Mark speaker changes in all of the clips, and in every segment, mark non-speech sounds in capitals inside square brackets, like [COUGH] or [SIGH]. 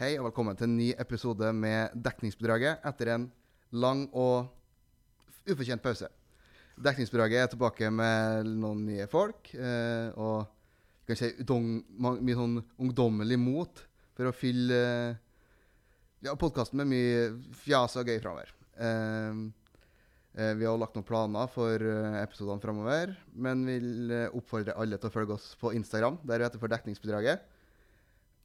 Speaker 1: Hei og velkommen til en ny episode med Dekningsbidraget etter en lang og ufortjent pause. Dekningsbidraget er tilbake med noen nye folk eh, og kan si udong- ma- mye sånn ungdommelig mot for å fylle eh, ja, podkasten med mye fjas og gøy framover. Eh, Eh, Vi har lagt noen planer for eh, episodene framover, men vil eh, oppfordre alle til å følge oss på Instagram, der vi heter for Dekningsbidraget.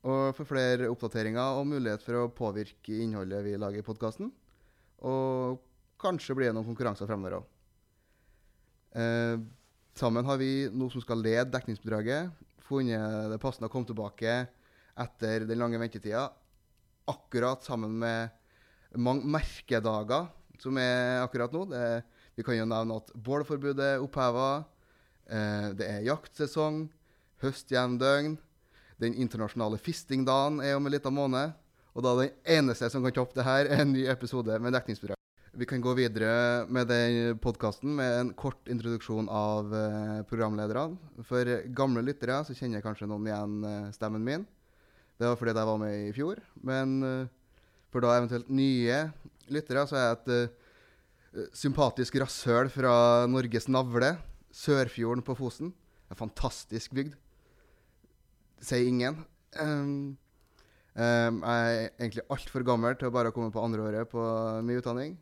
Speaker 1: Og for flere oppdateringer og mulighet for å påvirke innholdet vi lager i podkasten. Og kanskje blir det noen konkurranser fremover òg. Eh, sammen har vi, nå som skal lede dekningsbidraget, funnet det passende å komme tilbake etter den lange ventetida, akkurat sammen med mange merkedager som er akkurat nå. Det, vi kan jo nevne at bålforbudet er oppheva. Eh, det er jaktsesong. Høstjevndøgn. Den internasjonale fistingdagen er om en liten måned. Og da den eneste som kan toppe det her, er en ny episode med dekningsbidrag. Vi kan gå videre med den podkasten med en kort introduksjon av eh, programlederne. For gamle lyttere så kjenner kanskje noen igjen eh, stemmen min. Det var fordi jeg var med i fjor. Men eh, for da eventuelt nye lyttere så er jeg et eh, sympatisk rasshøl fra Norges navle. Sørfjorden på Fosen. En fantastisk bygd sier ingen. Um, um, jeg er egentlig altfor gammel til å bare komme på andreåret på min utdanning.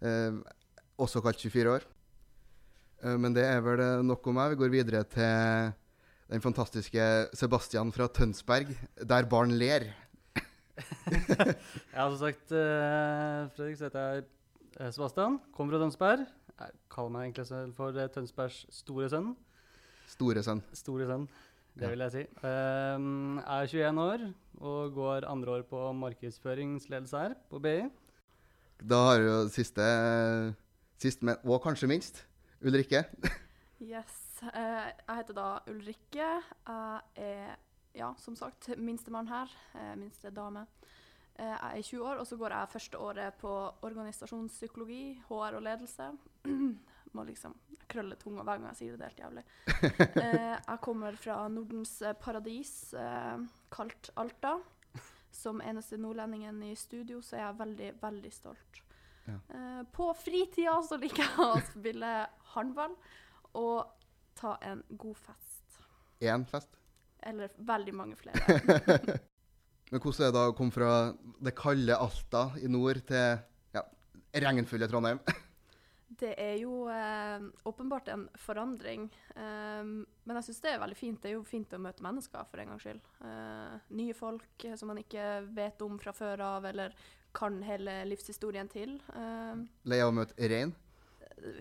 Speaker 1: Um, også kalt 24 år. Um, men det er vel eh, nok om meg. Vi går videre til den fantastiske Sebastian fra Tønsberg, der barn ler.
Speaker 2: Ja, som sagt, eh, Fredrik, så heter jeg eh, Sebastian. Kommer fra Tønsberg. Jeg kaller meg egentlig selv for eh, Tønsbergs store sønn.
Speaker 1: Store sønn.
Speaker 2: Store sønn, det
Speaker 1: Ja.
Speaker 2: vil jeg si. Um, er 21 år og går andre år på markedsføringsledelse her på BI.
Speaker 1: Da har vi jo siste, sist, men og kanskje minst, Ulrikke.
Speaker 3: Yes. eh, jeg heter da Ulrikke. Jeg er, ja, som sagt, minstemann her. eh, minste dame. Eh, jeg er 20 år, og så går jeg første året på organisasjonspsykologi, HR og ledelse. [CLEARS THROAT] Må liksom krølle tunga hver gang jeg sier det, det er helt jævlig. Eh, jeg kommer fra Nordens eh, paradis, eh, kalt Alta. Som eneste nordlendingen i studio, så er jeg veldig, veldig stolt.
Speaker 1: Ja.
Speaker 3: Eh, på fritida så liker jeg å spille håndball og ta en god fest.
Speaker 1: Én fest.
Speaker 3: Eller veldig mange flere.
Speaker 1: Men hvordan er det da å komme fra det kalde Alta i nord til ja, regnfulle Trondheim?
Speaker 3: Det er jo eh, åpenbart en forandring, eh, men jeg syns det er veldig fint. Det er jo fint å møte mennesker, for en gangs skyld. Eh, nye folk eh, som man ikke vet om fra før av, eller kan hele livshistorien til. Eh,
Speaker 1: Lei av å møte rein?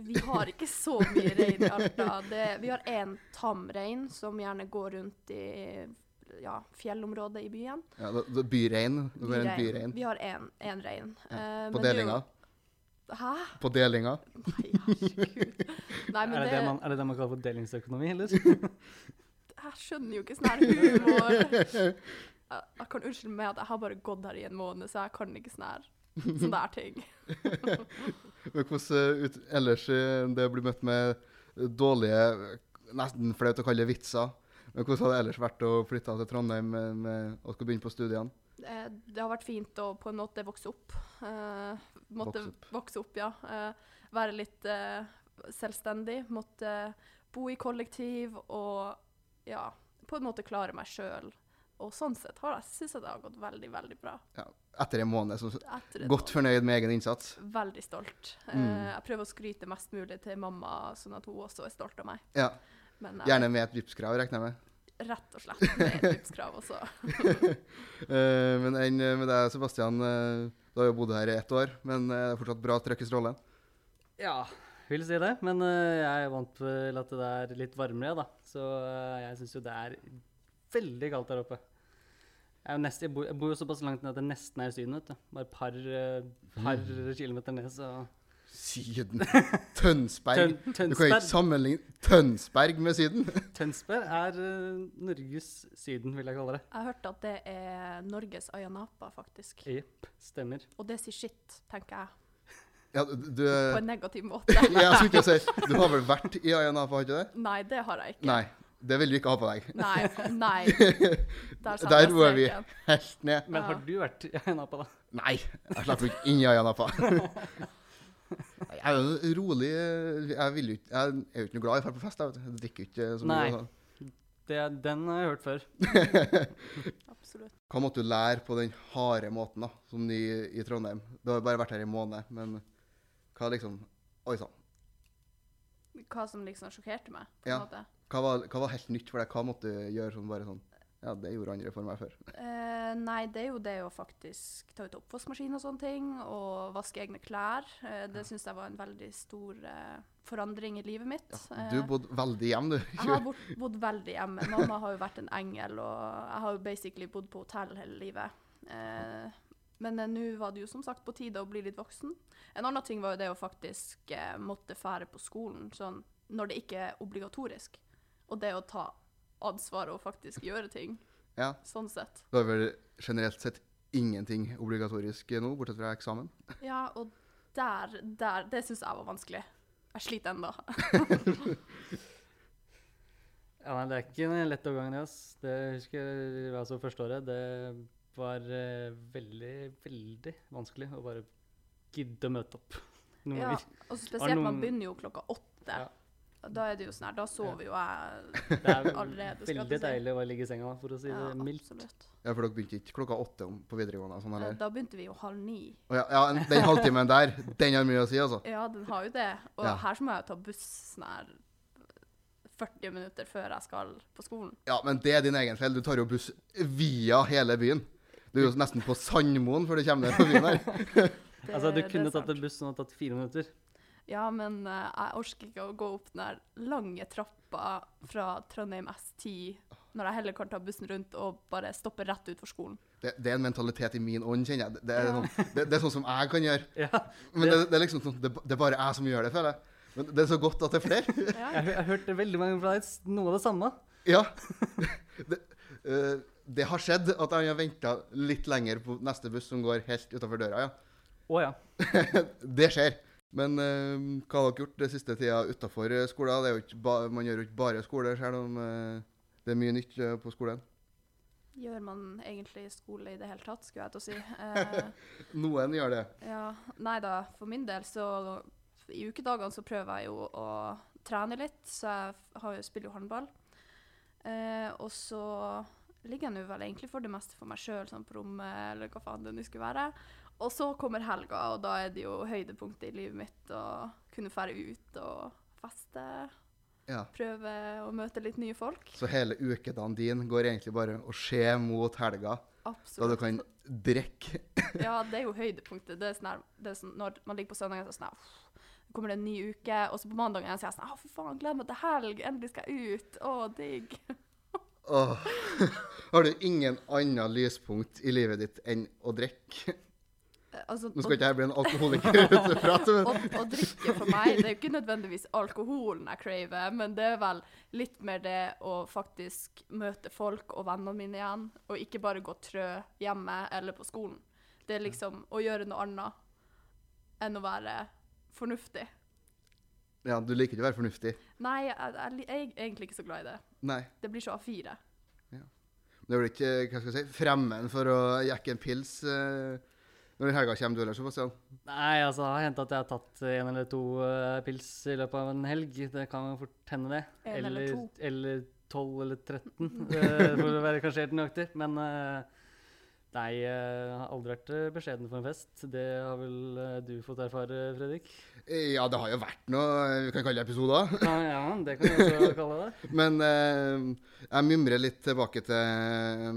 Speaker 3: vi har ikke så mye rein i Alta. Det, vi har én tam rein som gjerne går rundt i ja, fjellområdet i byen.
Speaker 1: Ja, da- da byrein. Det går en byrein.
Speaker 3: Vi har én rein. Eh,
Speaker 1: På
Speaker 3: men det er jo-
Speaker 1: delinga.
Speaker 3: Hæ?
Speaker 1: På delinga.
Speaker 3: Nei, herregud. Nei, men
Speaker 2: Er det det, man, er det det man kaller for delingsøkonomi, eller?
Speaker 3: Jeg skjønner jo ikke sånn her [LAUGHS] humor. Jeg, jeg kan unnskylde meg at jeg har bare gått her i en måned, så jeg kan ikke sånn her sånne der ting.
Speaker 1: Men hvordan eh, ut, ellers eh, det blir møtt med dårlige, eh, nesten flaut å kalle det vitser. Men hvordan hadde det ellers vært å flytte til Trondheim med, med, og skulle begynne på studiene?
Speaker 3: [LAUGHS] Eh, Det har vært fint å på en måte vokse opp. Eh, måtte
Speaker 1: Vokse
Speaker 3: vokse
Speaker 1: opp.
Speaker 3: opp, ja. Eh, være litt eh, selvstendig. Måtte bo i kollektiv og ja, på en måte klare meg sjøl. Og sånn sett har jeg syns jeg det har gått veldig, veldig bra.
Speaker 1: Etter en måned. Så
Speaker 3: Etter en
Speaker 1: godt
Speaker 3: måned.
Speaker 1: fornøyd med egen innsats.
Speaker 3: Veldig stolt. Eh,
Speaker 1: Mm.
Speaker 3: Jeg prøver å skryte mest mulig til mamma, sånn at hun også er stolt av meg.
Speaker 1: Ja,
Speaker 3: Men jeg
Speaker 1: Gjerne med et Vipps-krav, regner jeg med. [LAUGHS]
Speaker 3: vet rett og slett med et altså. livskrav også.
Speaker 1: Eh, men enn eh, med deg, Sebastian. eh, du har jo bodd her i ett år, men eh, det er fortsatt bra trøkk i strålen.
Speaker 2: Ja, vil si det. Men eh, jeg er vant til at det er litt varmere, da. Så eh, jeg syns jo det er veldig kaldt der oppe. Jeg, er jo nest, jeg, bor, jeg bor jo såpass langt ned at jeg nesten er i Syden. vet du. Bare et par, eh, par
Speaker 1: Mm.
Speaker 2: kilometer ned, så
Speaker 1: Syden. [LAUGHS] Tønsberg.
Speaker 2: Tøn,
Speaker 1: Du kan ikke
Speaker 2: Tønsberg,
Speaker 1: sammenligne Tønsberg med Syden.
Speaker 2: Tønsberg er eh, Norges Syden, vil jeg kalle det.
Speaker 3: Jeg hørte at det er Norges Ayanapa, faktisk.
Speaker 2: Jepp, stemmer.
Speaker 3: Og det sier shit, tenker jeg.
Speaker 1: Ja, du, du
Speaker 3: På en negativ måte.
Speaker 1: [LAUGHS] Ja, jeg skulle ikke si Du har vel vært i Ayanapa, har du ikke det?
Speaker 3: Nei, det har jeg ikke.
Speaker 1: Nei. Det vil du ikke ha på deg.
Speaker 3: Nei.
Speaker 1: [LAUGHS]
Speaker 3: nei. Der satte
Speaker 1: Der
Speaker 3: jeg
Speaker 1: var vi
Speaker 3: streken.
Speaker 1: helt ned.
Speaker 2: Men
Speaker 3: Ja.
Speaker 2: har du vært i en apa, da?
Speaker 1: Nei, jeg slipper ikke inn i Ayanapa. Jeg er jo en rolig Jeg, vil jo, ikke- jeg er jo ikke noe glad i å dra på fest. Jeg, vet. du. jeg drikker jo ikke så
Speaker 2: Nei.
Speaker 1: mye. og sånn.
Speaker 2: Det, den har jeg hørt før.
Speaker 3: Absolutt.
Speaker 1: Hva måtte du lære på den harde måten da, som ny i Trondheim? Du har jo bare vært her i en måned, men hva liksom Oi sann.
Speaker 3: Hva som liksom sjokkerte meg. på
Speaker 1: Ja.
Speaker 3: en måte.
Speaker 1: Hva, var- hva var helt nytt for deg? Hva måtte du gjøre sånn bare sånn Ja, det gjorde andre for meg før.
Speaker 3: Eh, nei, det er jo det å faktisk ta ut oppvaskmaskin og sånne ting, og vaske egne klær. Eh, det syns jeg var en veldig stor eh, forandring i livet mitt.
Speaker 1: Du
Speaker 3: Eh,
Speaker 1: bodde veldig hjemme, du.
Speaker 3: jeg har bort, bodd veldig hjemme. Mamma har jo vært en engel, og jeg har jo basically bodd på hotell hele livet. Eh, men eh, nå var det jo som sagt på tide å bli litt voksen. En annen ting var jo det å faktisk eh, måtte fære på skolen sånn, når det ikke er obligatorisk. Og det å ta ansvar og faktisk gjøre ting.
Speaker 1: Ja.
Speaker 3: Sånn sett.
Speaker 1: Du har vel generelt sett ingenting obligatorisk nå, bortsett fra eksamen?
Speaker 3: Ja, og der, der Det syns jeg var vanskelig. Jeg sliter ennå.
Speaker 2: Ja, nei, Det er ikke en lett overgang, det. ass. Det husker jeg altså første året. Det var eh, veldig, veldig vanskelig å bare gidde å møte opp noen
Speaker 3: Ja,
Speaker 2: ganger.
Speaker 3: og så spesielt,
Speaker 2: noen-
Speaker 3: man begynner jo klokka åtte.
Speaker 2: Ja.
Speaker 3: Og Da er det jo sånn her, da sover jo jeg
Speaker 2: Det er
Speaker 3: allerede, skal jeg
Speaker 2: veldig
Speaker 3: til å si.
Speaker 2: deilig å bare ligge i senga, da, for å si
Speaker 3: ja,
Speaker 2: det mildt.
Speaker 3: absolutt.
Speaker 1: Ja, for dere begynte ikke klokka åtte om på videregående? og Sånn,
Speaker 3: Eh,
Speaker 1: eller?
Speaker 3: Da begynte vi jo halv ni.
Speaker 1: Å ja, ja, en- den halvtimen der, den har mye å si, altså.
Speaker 3: Ja, den har jo det. Og
Speaker 1: Ja.
Speaker 3: her så må jeg jo ta buss sånn her 40 minutter før jeg skal på skolen.
Speaker 1: Ja, men det er din egen feil. Du tar jo buss via hele byen. Du er jo nesten på Sandmoen før du kommer ned på byen her.
Speaker 3: Det-
Speaker 2: Altså, Du
Speaker 3: det er
Speaker 2: kunne tatt
Speaker 3: sant.
Speaker 2: en buss som hadde tatt fire minutter.
Speaker 3: Ja, men eh, jeg orker ikke å gå opp den der lange trappa fra Trondheim S10, når jeg heller kan ta bussen rundt og bare stoppe rett ut
Speaker 2: [LAUGHS]
Speaker 3: for skolen.
Speaker 1: Det, det er en mentalitet i min ånd, kjenner jeg. Det, det, er,
Speaker 3: Ja.
Speaker 1: sånn, det, det er sånn som jeg kan gjøre.
Speaker 2: Ja,
Speaker 1: Men det, det er liksom sånn, det, det er bare jeg som gjør det, føler jeg. Men det er så godt at det er flere.
Speaker 2: Jeg har- jeg har hørt det veldig mange ganger fra deg, s- noe av det samme.
Speaker 1: Ja. [LAUGHS] Det, eh, det har skjedd at jeg har venta litt lenger på neste buss som går helt utafor døra, ja.
Speaker 2: Å ja.
Speaker 1: Det skjer. Men eh, hva har dere gjort den siste tida utafor skolen? Det er jo ikke ba, man gjør jo ikke bare skole, selv om eh, det er mye nytt eh, på skolen.
Speaker 3: Gjør man egentlig skole i det hele tatt, skulle jeg til å si. Eh,
Speaker 1: Noen gjør det.
Speaker 3: ja, nei da, for min del så I ukedagene så prøver jeg jo å trene litt, så jeg f- har jo, spiller jo håndball. Eh, og så ligger jeg nå vel egentlig for det meste for meg sjøl, sånn på rommet eller hva faen det nå skulle være. Og så kommer helga, og da er det jo høydepunktet i livet mitt å kunne fære ut og feste.
Speaker 1: Ja.
Speaker 3: Prøve å møte litt nye folk.
Speaker 1: Så hele ukedagen din går egentlig bare å se mot helga, da du
Speaker 3: Absolutt.
Speaker 1: kan drikke.
Speaker 3: Ja, det er jo høydepunktet. Det er sånn her, det er sånn, når man ligger på søndagen, så er det sånn her, «Uff, nå kommer det en ny uke, og så på mandagen igjen, så er jeg sånn Å, for faen, gleder meg til helg! Endelig skal jeg ut! Å, digg!
Speaker 1: Åh. [LAUGHS] Har du ingen annen lyspunkt i livet ditt enn å drikke?
Speaker 3: Eh, Altså,
Speaker 1: Nå
Speaker 3: å,
Speaker 1: skal ikke jeg bli en alkoholiker [LAUGHS] ut ifra, men
Speaker 3: å, å drikke for meg, det er jo ikke nødvendigvis alkoholen jeg craver, men det er vel litt mer det å faktisk møte folk og vennene mine igjen, og ikke bare gå trø hjemme eller på skolen. Det er liksom å gjøre noe annet enn å være fornuftig.
Speaker 1: ja, du liker ikke å være fornuftig.
Speaker 3: Nei, jeg, jeg, jeg er egentlig ikke så glad i det.
Speaker 1: Nei.
Speaker 3: Det blir så A4.
Speaker 1: Men Det er vel ikke hva skal jeg si, fremmed for å jekke en pils eh, når helga kommer, du heller, Sebastian.
Speaker 2: Nei, altså, det har hendt at jeg har tatt en eller to eh, pils i løpet av en helg. Det kan jo fort hende, det.
Speaker 3: En eller to.
Speaker 2: Eller 12 eller [LAUGHS] 13, eh, for å være kanskje helt nøyaktig. Men eh, nei, jeg har aldri vært eh, beskjeden for en fest. Det har vel eh, du fått erfare, Fredrik?
Speaker 1: Eh, Ja, det har jo vært noe eh, Vi kan kalle det episoder. [LAUGHS]
Speaker 2: Ja, ja det kan jeg også kalle det.
Speaker 1: Men eh, jeg mimrer litt tilbake til eh,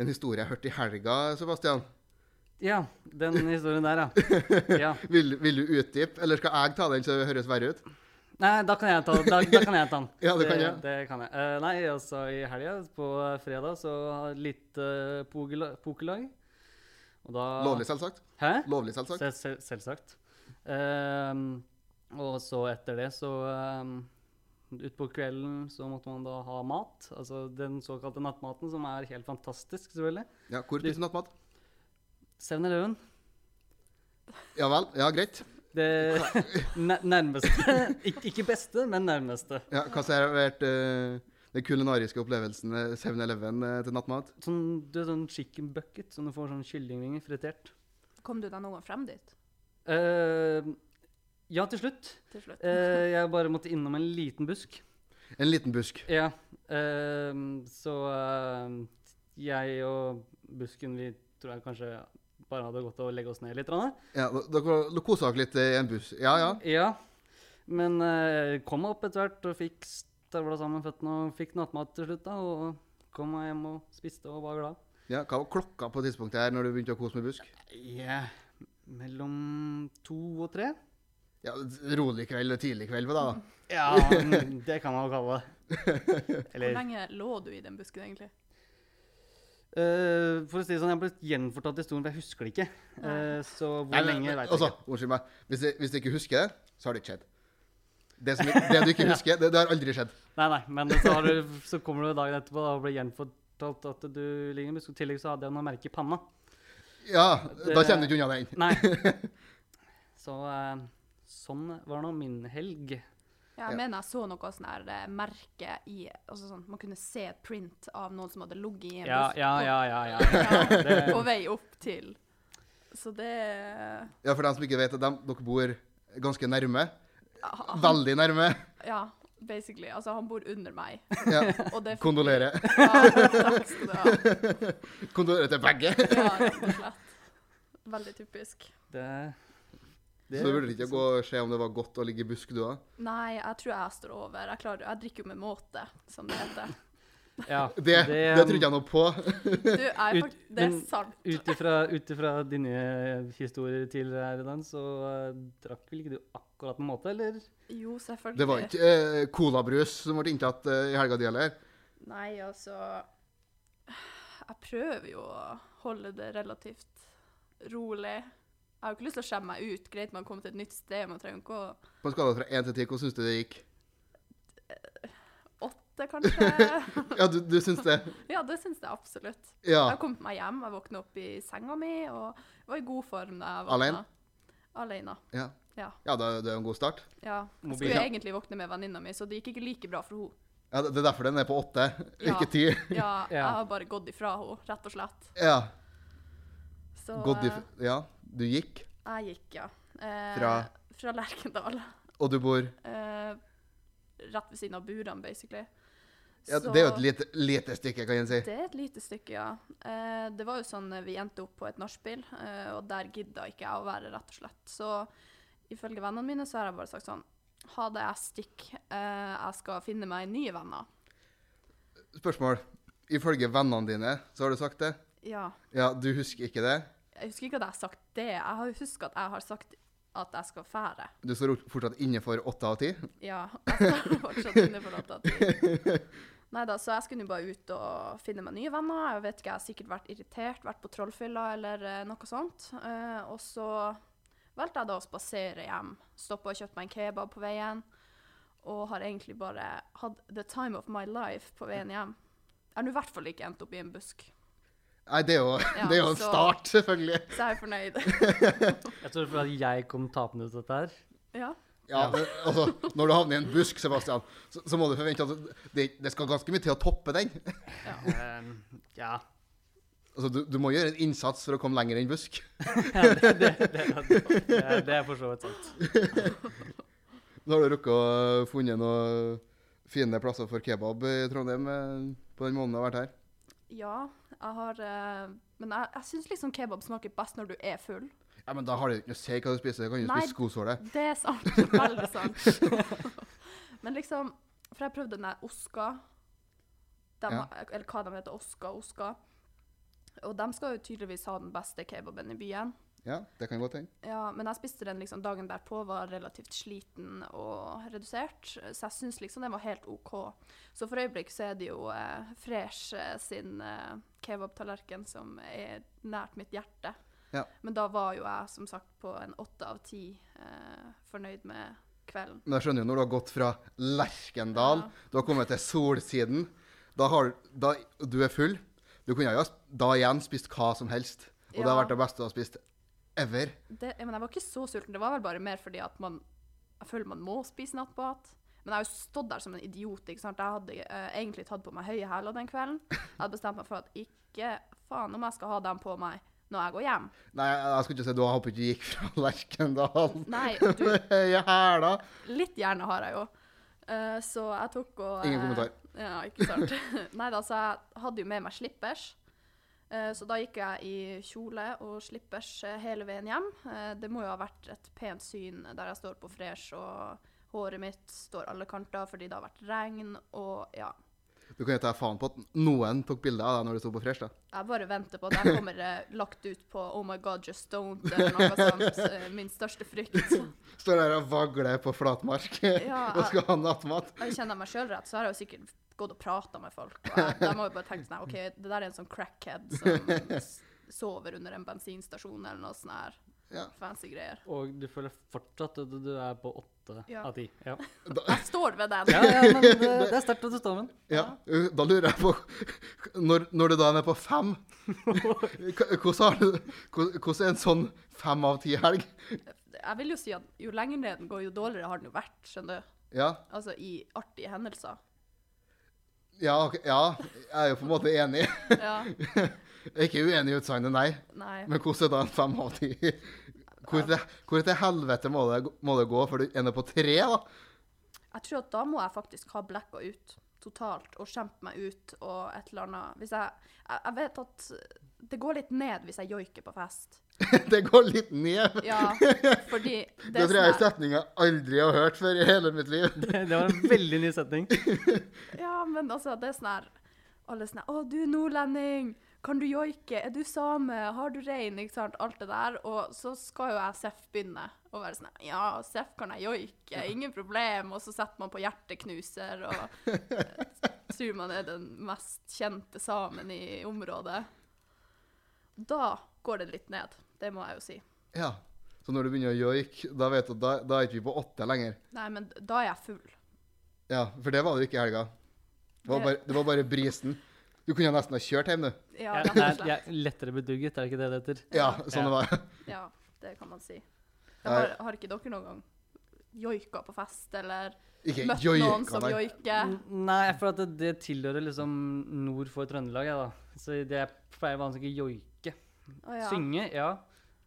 Speaker 1: en historie jeg hørte i helga, Sebastian.
Speaker 2: [LAUGHS] Ja, den historien der, ja. [LAUGHS] ja.
Speaker 1: Vil, vil du utdype, eller skal jeg ta den så det høres verre ut?
Speaker 2: Nei, da kan jeg ta, da, da kan jeg ta den.
Speaker 1: [LAUGHS] Ja, det kan jeg.
Speaker 2: Det, kan jeg. Eh, nei, altså i helga, på fredag, så har jeg litt eh, pogela- pokerlag. Og da
Speaker 1: Lovlig, selvsagt.
Speaker 2: Hæ?
Speaker 1: Lovlig, selvsagt.
Speaker 2: Sel, sel, selvsagt. Ehm, og så etter det, så um, Utpå kvelden så måtte man da ha mat. Altså den såkalte nattmaten, som er helt fantastisk, selvfølgelig.
Speaker 1: Ja, hvor spiser du nattmat?
Speaker 2: 7-Eleven.
Speaker 1: Ja vel. Ja, greit.
Speaker 2: Det [LAUGHS] nær- nærmeste. Ik ikke beste, men nærmeste.
Speaker 1: Ja, hva serverte uh, Den kulinariske opplevelsen eh, 7-Eleven eh, til nattmat.
Speaker 2: Sånn, du vet sånn chicken bucket, som du får sånn kyllingvinger fritert.
Speaker 3: Kom du deg noe frem dit
Speaker 2: Eh, ja, til slutt.
Speaker 3: til slutt?
Speaker 2: Eh, jeg bare måtte innom en liten busk.
Speaker 1: En liten busk.
Speaker 2: Ja. eh, så eh, jeg og busken, vi tror jeg kanskje bare hadde gått og legge oss ned litt. Ranne.
Speaker 1: Ja, da- Dere kosa dere litt eh, i en busk. Ja, ja.
Speaker 2: Ja. Men eh, kom meg opp etter hvert og fikk stavla sammen føttene og fikk nattmat til slutt. da, Og kom meg hjem og spiste og var glad.
Speaker 1: ja. Hva var klokka på tidspunktet her når du begynte å kose med busk?
Speaker 2: Ja, Mellom to og tre?
Speaker 1: Ja, Rolig kveld eller tidlig kveld, hva da?
Speaker 2: Ja, det kan man jo kalle det.
Speaker 3: Hvor
Speaker 2: Eller
Speaker 3: lenge lå du i den busken, egentlig?
Speaker 2: eh, For å si det sånn, jeg ble gjenfortalt historien, for jeg husker det ikke. Eh, så hvor
Speaker 1: Nei,
Speaker 2: lenge,
Speaker 1: men-
Speaker 2: veit jeg
Speaker 1: altså,
Speaker 2: ikke.
Speaker 1: Unnskyld meg. Hvis, jeg- hvis du ikke husker det, så har det ikke skjedd. Det, som, det
Speaker 2: [LAUGHS]
Speaker 1: du ikke husker, det, det har aldri skjedd.
Speaker 2: Nei, nei, men så, har du, så kommer du dagen etterpå da, og blir gjenfortalt at du ligner i busk. I tillegg så hadde jeg noe merke i panna.
Speaker 1: Ja, Da
Speaker 2: Det-
Speaker 1: kommer du ikke unna den. [LAUGHS]
Speaker 2: Nei. Så eh, sånn var nå min helg.
Speaker 3: Ja,
Speaker 1: Ja.
Speaker 3: jeg mener jeg så noe sånn her eh, merke i altså sånn, Man kunne se et print av noen som hadde ligget i en
Speaker 2: Ja,
Speaker 3: busk
Speaker 2: ja,
Speaker 3: på-
Speaker 2: ja, ja. ja.
Speaker 3: [LAUGHS] ja,
Speaker 2: Det,
Speaker 3: på vei opp til. Så det
Speaker 1: Ja, For dem som ikke vet at dem- dere bor ganske nærme.
Speaker 2: Ah.
Speaker 3: ja, han,
Speaker 1: Veldig nærme.
Speaker 3: ja, basically. Altså, han bor under meg.
Speaker 1: Ja.
Speaker 2: [LAUGHS]
Speaker 3: Og det
Speaker 1: Kondolerer.
Speaker 3: Ja, takk skal du ha.
Speaker 1: Kondolerer til begge.
Speaker 3: Ja, rett og slett. Veldig typisk.
Speaker 2: det,
Speaker 1: Så du burde ikke gå og se om det var godt å ligge i busk, du òg.
Speaker 3: Nei, jeg tror jeg står over. Jeg, klarer, jeg drikker jo med måte, som det heter.
Speaker 2: ja,
Speaker 1: Det, det trodde jeg noe på.
Speaker 3: Du, jeg, er
Speaker 2: Ut-
Speaker 3: fakt- det er
Speaker 2: men-
Speaker 3: sant.
Speaker 2: Ut ifra- ut ifra dine historier tidligere her i dag, så eh, drakk vel ikke du akkurat på en måte, eller?
Speaker 3: Jo, selvfølgelig.
Speaker 1: Det var ikke eh, colabrus som ble inntatt eh, i helga di heller.
Speaker 3: Nei, altså Jeg prøver jo å holde det relativt rolig. Jeg har jo ikke lyst til å skjemme meg ut. Greit, man kommer til et nytt sted, man trenger ikke å
Speaker 1: På en skala fra 1 til 10, hvordan syns du det gikk?
Speaker 3: Åtte, [LAUGHS] kanskje?
Speaker 1: Ja, du, du syns det?
Speaker 3: ja, det syns jeg absolutt.
Speaker 1: Ja.
Speaker 3: Jeg kom meg hjem, jeg våkna opp i senga mi, og jeg var i god form da jeg
Speaker 1: Alene?
Speaker 3: våkna. Alene?
Speaker 1: Ja,
Speaker 3: Ja.
Speaker 1: ja det, det er jo en god start.
Speaker 3: ja. Jeg
Speaker 2: Mobil,
Speaker 3: skulle
Speaker 2: ja.
Speaker 3: egentlig våkne med venninna mi, så det gikk ikke like bra for henne.
Speaker 1: Ja, det det er derfor den er på 8,
Speaker 3: Ja.
Speaker 1: ikke 10.
Speaker 3: Ja,
Speaker 1: [LAUGHS]
Speaker 3: jeg
Speaker 2: Ja.
Speaker 3: har bare gått ifra henne, rett og slett.
Speaker 1: Ja.
Speaker 3: Så
Speaker 1: Gått
Speaker 3: eh,
Speaker 1: if ja, du gikk,
Speaker 3: jeg gikk, ja. Eh,
Speaker 1: Fra?
Speaker 3: Fra Lerkendal.
Speaker 1: og du bor
Speaker 3: eh, rett ved siden av burene, basically.
Speaker 1: ja,
Speaker 3: Så-
Speaker 1: Det er jo et lite, lite stykke, kan en si.
Speaker 3: Det er et lite stykke, ja. Eh, det var jo sånn eh, vi endte opp på et nachspiel, eh, og der gidda ikke jeg å være, rett og slett. Så ifølge vennene mine så har jeg bare sagt sånn Ha det, jeg stikker. Eh, jeg skal finne meg nye venner.
Speaker 1: Spørsmål. Ifølge vennene dine, så har du sagt det?
Speaker 3: Ja.
Speaker 1: Ja, du husker ikke det?
Speaker 3: Jeg husker ikke at jeg har sagt det. Jeg har husker at jeg har sagt at jeg skal fære.
Speaker 1: Du står fortsatt innenfor 8 av 10?
Speaker 3: Ja. [LAUGHS] Jeg står fortsatt inne for låta til. Nei da, så jeg skulle jo bare ut og finne meg nye venner. Jeg vet ikke, jeg har sikkert vært irritert, vært på trollfylla eller eh, noe sånt. Eh, og så valgte jeg da å spasere hjem. Stoppa og kjøpte meg en kebab på veien. Og har egentlig bare hatt the time of my life på veien hjem. Jeg har nå i hvert fall ikke endt opp i en busk,
Speaker 1: Nei, det er jo,
Speaker 3: Ja,
Speaker 1: [LAUGHS] det er jo en
Speaker 3: så-
Speaker 1: start, selvfølgelig.
Speaker 3: så jeg er fornøyd. [LAUGHS]
Speaker 2: Jeg tror for at jeg kom tapende ut av dette her.
Speaker 3: ja.
Speaker 1: Ja, men, altså, Når du havner i en busk, Sebastian, så, så må du forvente at det, det skal ganske mye til å toppe den.
Speaker 2: Eh, ja,
Speaker 1: Altså, du, du må gjøre en innsats for å komme lenger enn busk. [LAUGHS]
Speaker 2: det, det, det, det, det er for så vidt sant.
Speaker 1: Nå har du rukket å eh, funnet noen fine plasser for kebab i Trondheim eh, på den måneden du har vært her.
Speaker 3: Ja, jeg har eh, Men jeg, jeg syns liksom kebab smaker best når du er full.
Speaker 1: Ja, men Da har det jo ikke noe å si hva du spiser, du kan jo
Speaker 3: Nei.
Speaker 1: spise skosåle.
Speaker 3: Det er sant. Veldig sant. men liksom For jeg prøvde den der Oska, dem-
Speaker 1: Ja.
Speaker 3: eller hva de heter, Oska, Oska. Og de skal jo tydeligvis ha den beste kebaben i byen.
Speaker 1: Ja, det kan godt hende.
Speaker 3: Ja, Men jeg spiste den liksom dagen derpå, var relativt sliten og redusert, så jeg syns liksom den var helt OK. Så for øyeblikk så er det jo eh, Fresh eh, sin eh, kebabtallerken som er nært mitt hjerte.
Speaker 1: Ja.
Speaker 3: Men da var jo jeg som sagt på en åtte av ti eh, fornøyd med kvelden.
Speaker 1: Men jeg skjønner jo når du har gått fra Lerkendal,
Speaker 3: Ja.
Speaker 1: du har kommet til Solsiden, da, har, da du er full Du kunne jo ha sp- da igjen spist hva som helst, og det har
Speaker 3: Ja.
Speaker 1: vært det beste du har spist ever.
Speaker 3: Det, jeg, men jeg var ikke så sulten, det var vel bare mer fordi at man Jeg føler man må spise nattmat. Men jeg har jo stått der som en idiot. ikke sant? Jeg hadde eh, egentlig tatt på meg høye hæler den kvelden. Jeg hadde bestemt meg for at ikke faen om jeg skal ha dem på meg når jeg går hjem.
Speaker 1: Nei, jeg skulle ikke si du jeg håper ikke du gikk fra Lerkendal
Speaker 3: Nei, du,
Speaker 1: [LAUGHS] med høye hæler.
Speaker 3: litt hjerne har jeg jo. Eh, så jeg tok og
Speaker 1: Ingen
Speaker 3: eh,
Speaker 1: kommentar.
Speaker 3: Ja, ikke sant. [LAUGHS] Nei da, så jeg hadde jo med meg slippers. Eh, så da gikk jeg i kjole og slippers eh, hele veien hjem. Eh, det må jo ha vært et pent syn der jeg står på fresh og håret mitt står alle kanter fordi det har vært regn og ja.
Speaker 1: Du kan jo ta faen på at noen tok bilde av deg når du sto på Fresh. da.
Speaker 3: Jeg bare venter på at jeg kommer eh, lagt ut på Oh my God, just don't, eller noe sånt.
Speaker 1: [LAUGHS]
Speaker 3: eh, Min største frykt.
Speaker 1: Står der og vagler på flatmark
Speaker 3: Ja,
Speaker 1: [LAUGHS] og skal ha nattmat.
Speaker 3: Jeg kjenner meg sjøl rett, så har jeg jo sikkert gått og prata med folk. Og jeg, de har jo bare tenkt sånn her, OK, det der er en sånn crackhead som s- sover under en bensinstasjon eller noe sånn her
Speaker 1: Ja.
Speaker 3: fancy greier.
Speaker 2: Og du føler fortsatt at du er på åtte
Speaker 3: Ja.
Speaker 2: av ti. Ja.
Speaker 3: Jeg står ved den.
Speaker 2: ja, ja, men det, det er sterkt at du står med den.
Speaker 1: Ja, uh, Da lurer jeg på Når, når du da er på fem, [LAUGHS] k- hvordan, har du, hvor- hvordan er en sånn fem av ti-helg?
Speaker 3: Jeg vil jo si at jo lenger ned den går, jo dårligere har den jo vært, skjønner du.
Speaker 1: Ja,
Speaker 3: Altså i artige hendelser.
Speaker 1: ja, ok, ja, jeg er jo på en måte enig.
Speaker 3: Ja.
Speaker 1: Jeg er ikke uenig i utsagnet, nei.
Speaker 3: Nei.
Speaker 1: Men hvordan er da en fem av ti? Hvor, til- hvor til helvete må det, må det gå før du ender på tre, da? [LAUGHS]
Speaker 3: Jeg tror at da må jeg faktisk ha blekka ut totalt og kjempe meg ut og et eller annet Hvis jeg Jeg, jeg vet at det går litt ned hvis jeg joiker på fest.
Speaker 1: Det går litt ned.
Speaker 3: Ja,
Speaker 1: [LAUGHS]
Speaker 3: fordi
Speaker 1: Det, tror jeg er en
Speaker 3: sånn her-
Speaker 1: setning jeg aldri har hørt før i hele mitt liv.
Speaker 2: [LAUGHS] Det var en veldig ny setning.
Speaker 3: Ja, men altså, det er sånn her Alle er sånn her Å, du er nordlending! Kan du joike? Er du same? Har du rein? Ikke sant? Alt det der. Og så skal jo jeg Seff begynne å være sånn her Ja, Seff kan jeg joike. Ingen problem. Og så setter man på hjerteknuser og eh, tror man er den mest kjente samen i området. Da går det litt ned. Det må jeg jo si.
Speaker 1: Ja. Så når du begynner å joike, da vet du at da, da er ikke vi på åtte lenger.
Speaker 3: Nei, men da er jeg full.
Speaker 1: Ja, for det var det jo ikke i helga. Det var bare, det var bare brisen. Du kunne nesten ha kjørt hjem, du.
Speaker 3: Ja,
Speaker 2: Jeg,
Speaker 3: rett og
Speaker 2: jeg,
Speaker 3: slett.
Speaker 2: jeg, lettere bedugget, er det ikke det det heter?
Speaker 1: Ja, sånn
Speaker 3: [LAUGHS]
Speaker 1: det var.
Speaker 3: Ja, det kan man si. Jeg
Speaker 1: Nei.
Speaker 3: har, har ikke dere noen gang joika på fest, eller
Speaker 1: Ikke
Speaker 3: møtt noen
Speaker 1: joika,
Speaker 3: som
Speaker 1: nei.
Speaker 3: joiker?
Speaker 2: N- Nei, for at det, det tilhører liksom nord for Trøndelag, jeg, da. Så det jeg pleier vanligvis ikke å joike.
Speaker 3: Å ja.
Speaker 2: Synge, ja.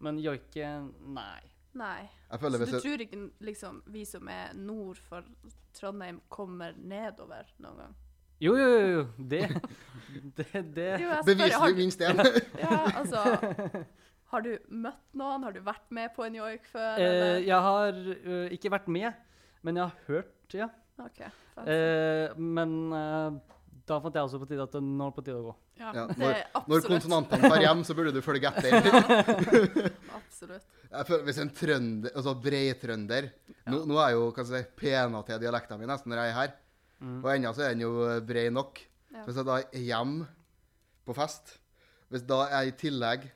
Speaker 2: Men joike, nei.
Speaker 3: Nei.
Speaker 1: Jeg
Speaker 3: Så
Speaker 1: føler
Speaker 3: du
Speaker 1: hvis jeg,
Speaker 3: tror ikke liksom, vi som er nord for Trondheim, kommer nedover noen gang?
Speaker 2: Jo, jo, jo, jo. Det, [LAUGHS] det, det.
Speaker 3: Jo, jeg spør, har
Speaker 1: Beviselig
Speaker 3: du,
Speaker 1: minst én. [LAUGHS]
Speaker 3: ja, altså, har du møtt noen? Har du vært med på en joik
Speaker 2: [LAUGHS]
Speaker 3: før?
Speaker 2: Eh,
Speaker 3: Eller?
Speaker 2: Jeg har eh, ikke vært med, men jeg har hørt, ja.
Speaker 3: OK. fint.
Speaker 2: Eh, men eh, da fant jeg også på tide at det- nå er det på tide å gå.
Speaker 3: Ja,
Speaker 1: ja,
Speaker 3: det er
Speaker 1: Når
Speaker 3: absolutt. [LAUGHS]
Speaker 1: konsonantene tar hjem, så burde du følge etter.
Speaker 3: absolutt.
Speaker 1: Jeg føler Hvis en trønder, altså breitrønder nå, nå er jo hva skal jeg si, pena til dialekten min nesten når jeg er her. Og ennå så er den jo eh, brei nok.
Speaker 3: Ja.
Speaker 1: Hvis jeg da er hjemme på fest, hvis da jeg i tillegg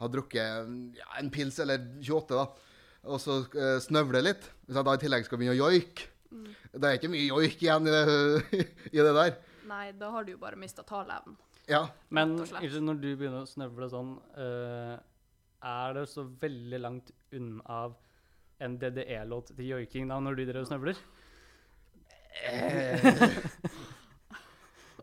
Speaker 1: har drukket en- ja, en pils eller 28, da, og så eh, snøvler litt Hvis jeg da i tillegg skal begynne å joike
Speaker 3: Mm.
Speaker 1: Det er ikke mye joik igjen i det, [LAUGHS] i det der.
Speaker 3: Nei, da har du jo bare mista taleevnen.
Speaker 1: Ja.
Speaker 2: Men
Speaker 3: Rett og slett.
Speaker 2: ikke når du begynner å snøvle sånn, eh, er det så veldig langt unna av en DDE-låt til joiking da, når du driver og snøvler?
Speaker 1: Eh,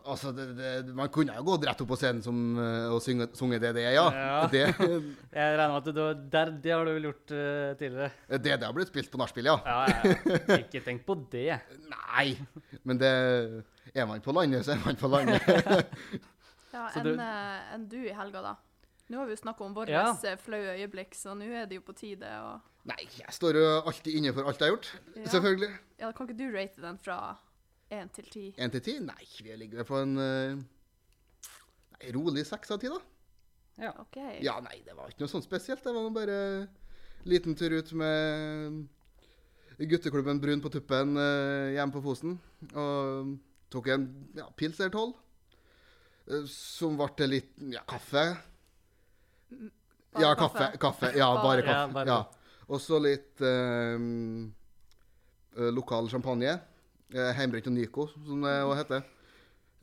Speaker 1: Altså, det, det, man kunne jo gått rett opp på scenen som, eh, og synge- sunget det det er, ja.
Speaker 2: Ja.
Speaker 1: Det,
Speaker 2: Jeg regner med at du, der, det har du vel gjort eh, tidligere?
Speaker 1: Det det har blitt spilt på nachspiel, ja.
Speaker 2: Ja, ja, ja. Ikke tenk på det.
Speaker 1: Nei! Men det Er man på landet, så er man på landet.
Speaker 3: Ja,
Speaker 2: Så
Speaker 3: enn
Speaker 2: du-
Speaker 3: eh, enn du i helga, da. Nå har vi jo snakka om våre
Speaker 2: Ja.
Speaker 3: eh, flaue øyeblikk, så nå er det jo på tide å
Speaker 1: Nei, jeg står jo alltid inne for alt jeg har gjort.
Speaker 3: Ja.
Speaker 1: Selvfølgelig.
Speaker 3: Ja, kan ikke du rate den fra én til ti?
Speaker 1: Én til ti? Nei, vi ligger vel på en eh, nei, rolig seks av ti, da.
Speaker 3: OK.
Speaker 1: Ja, nei, det var ikke noe sånt spesielt. Det var nå bare en liten tur ut med gutteklubben Brun på tuppen eh, hjemme på Fosen. Og tok en ja, pils eller tolv. eh, Som ble til litt ja, kaffe.
Speaker 3: Bare
Speaker 1: ja, kaffe. Mm, kaffe. Ja,
Speaker 3: Bare-
Speaker 1: bare
Speaker 2: Ja,
Speaker 1: kaffe.
Speaker 2: bare
Speaker 1: Ja, Og så litt ehm, eh, lokal champagne. Eh, Heimbrent og Nico, som det også heter.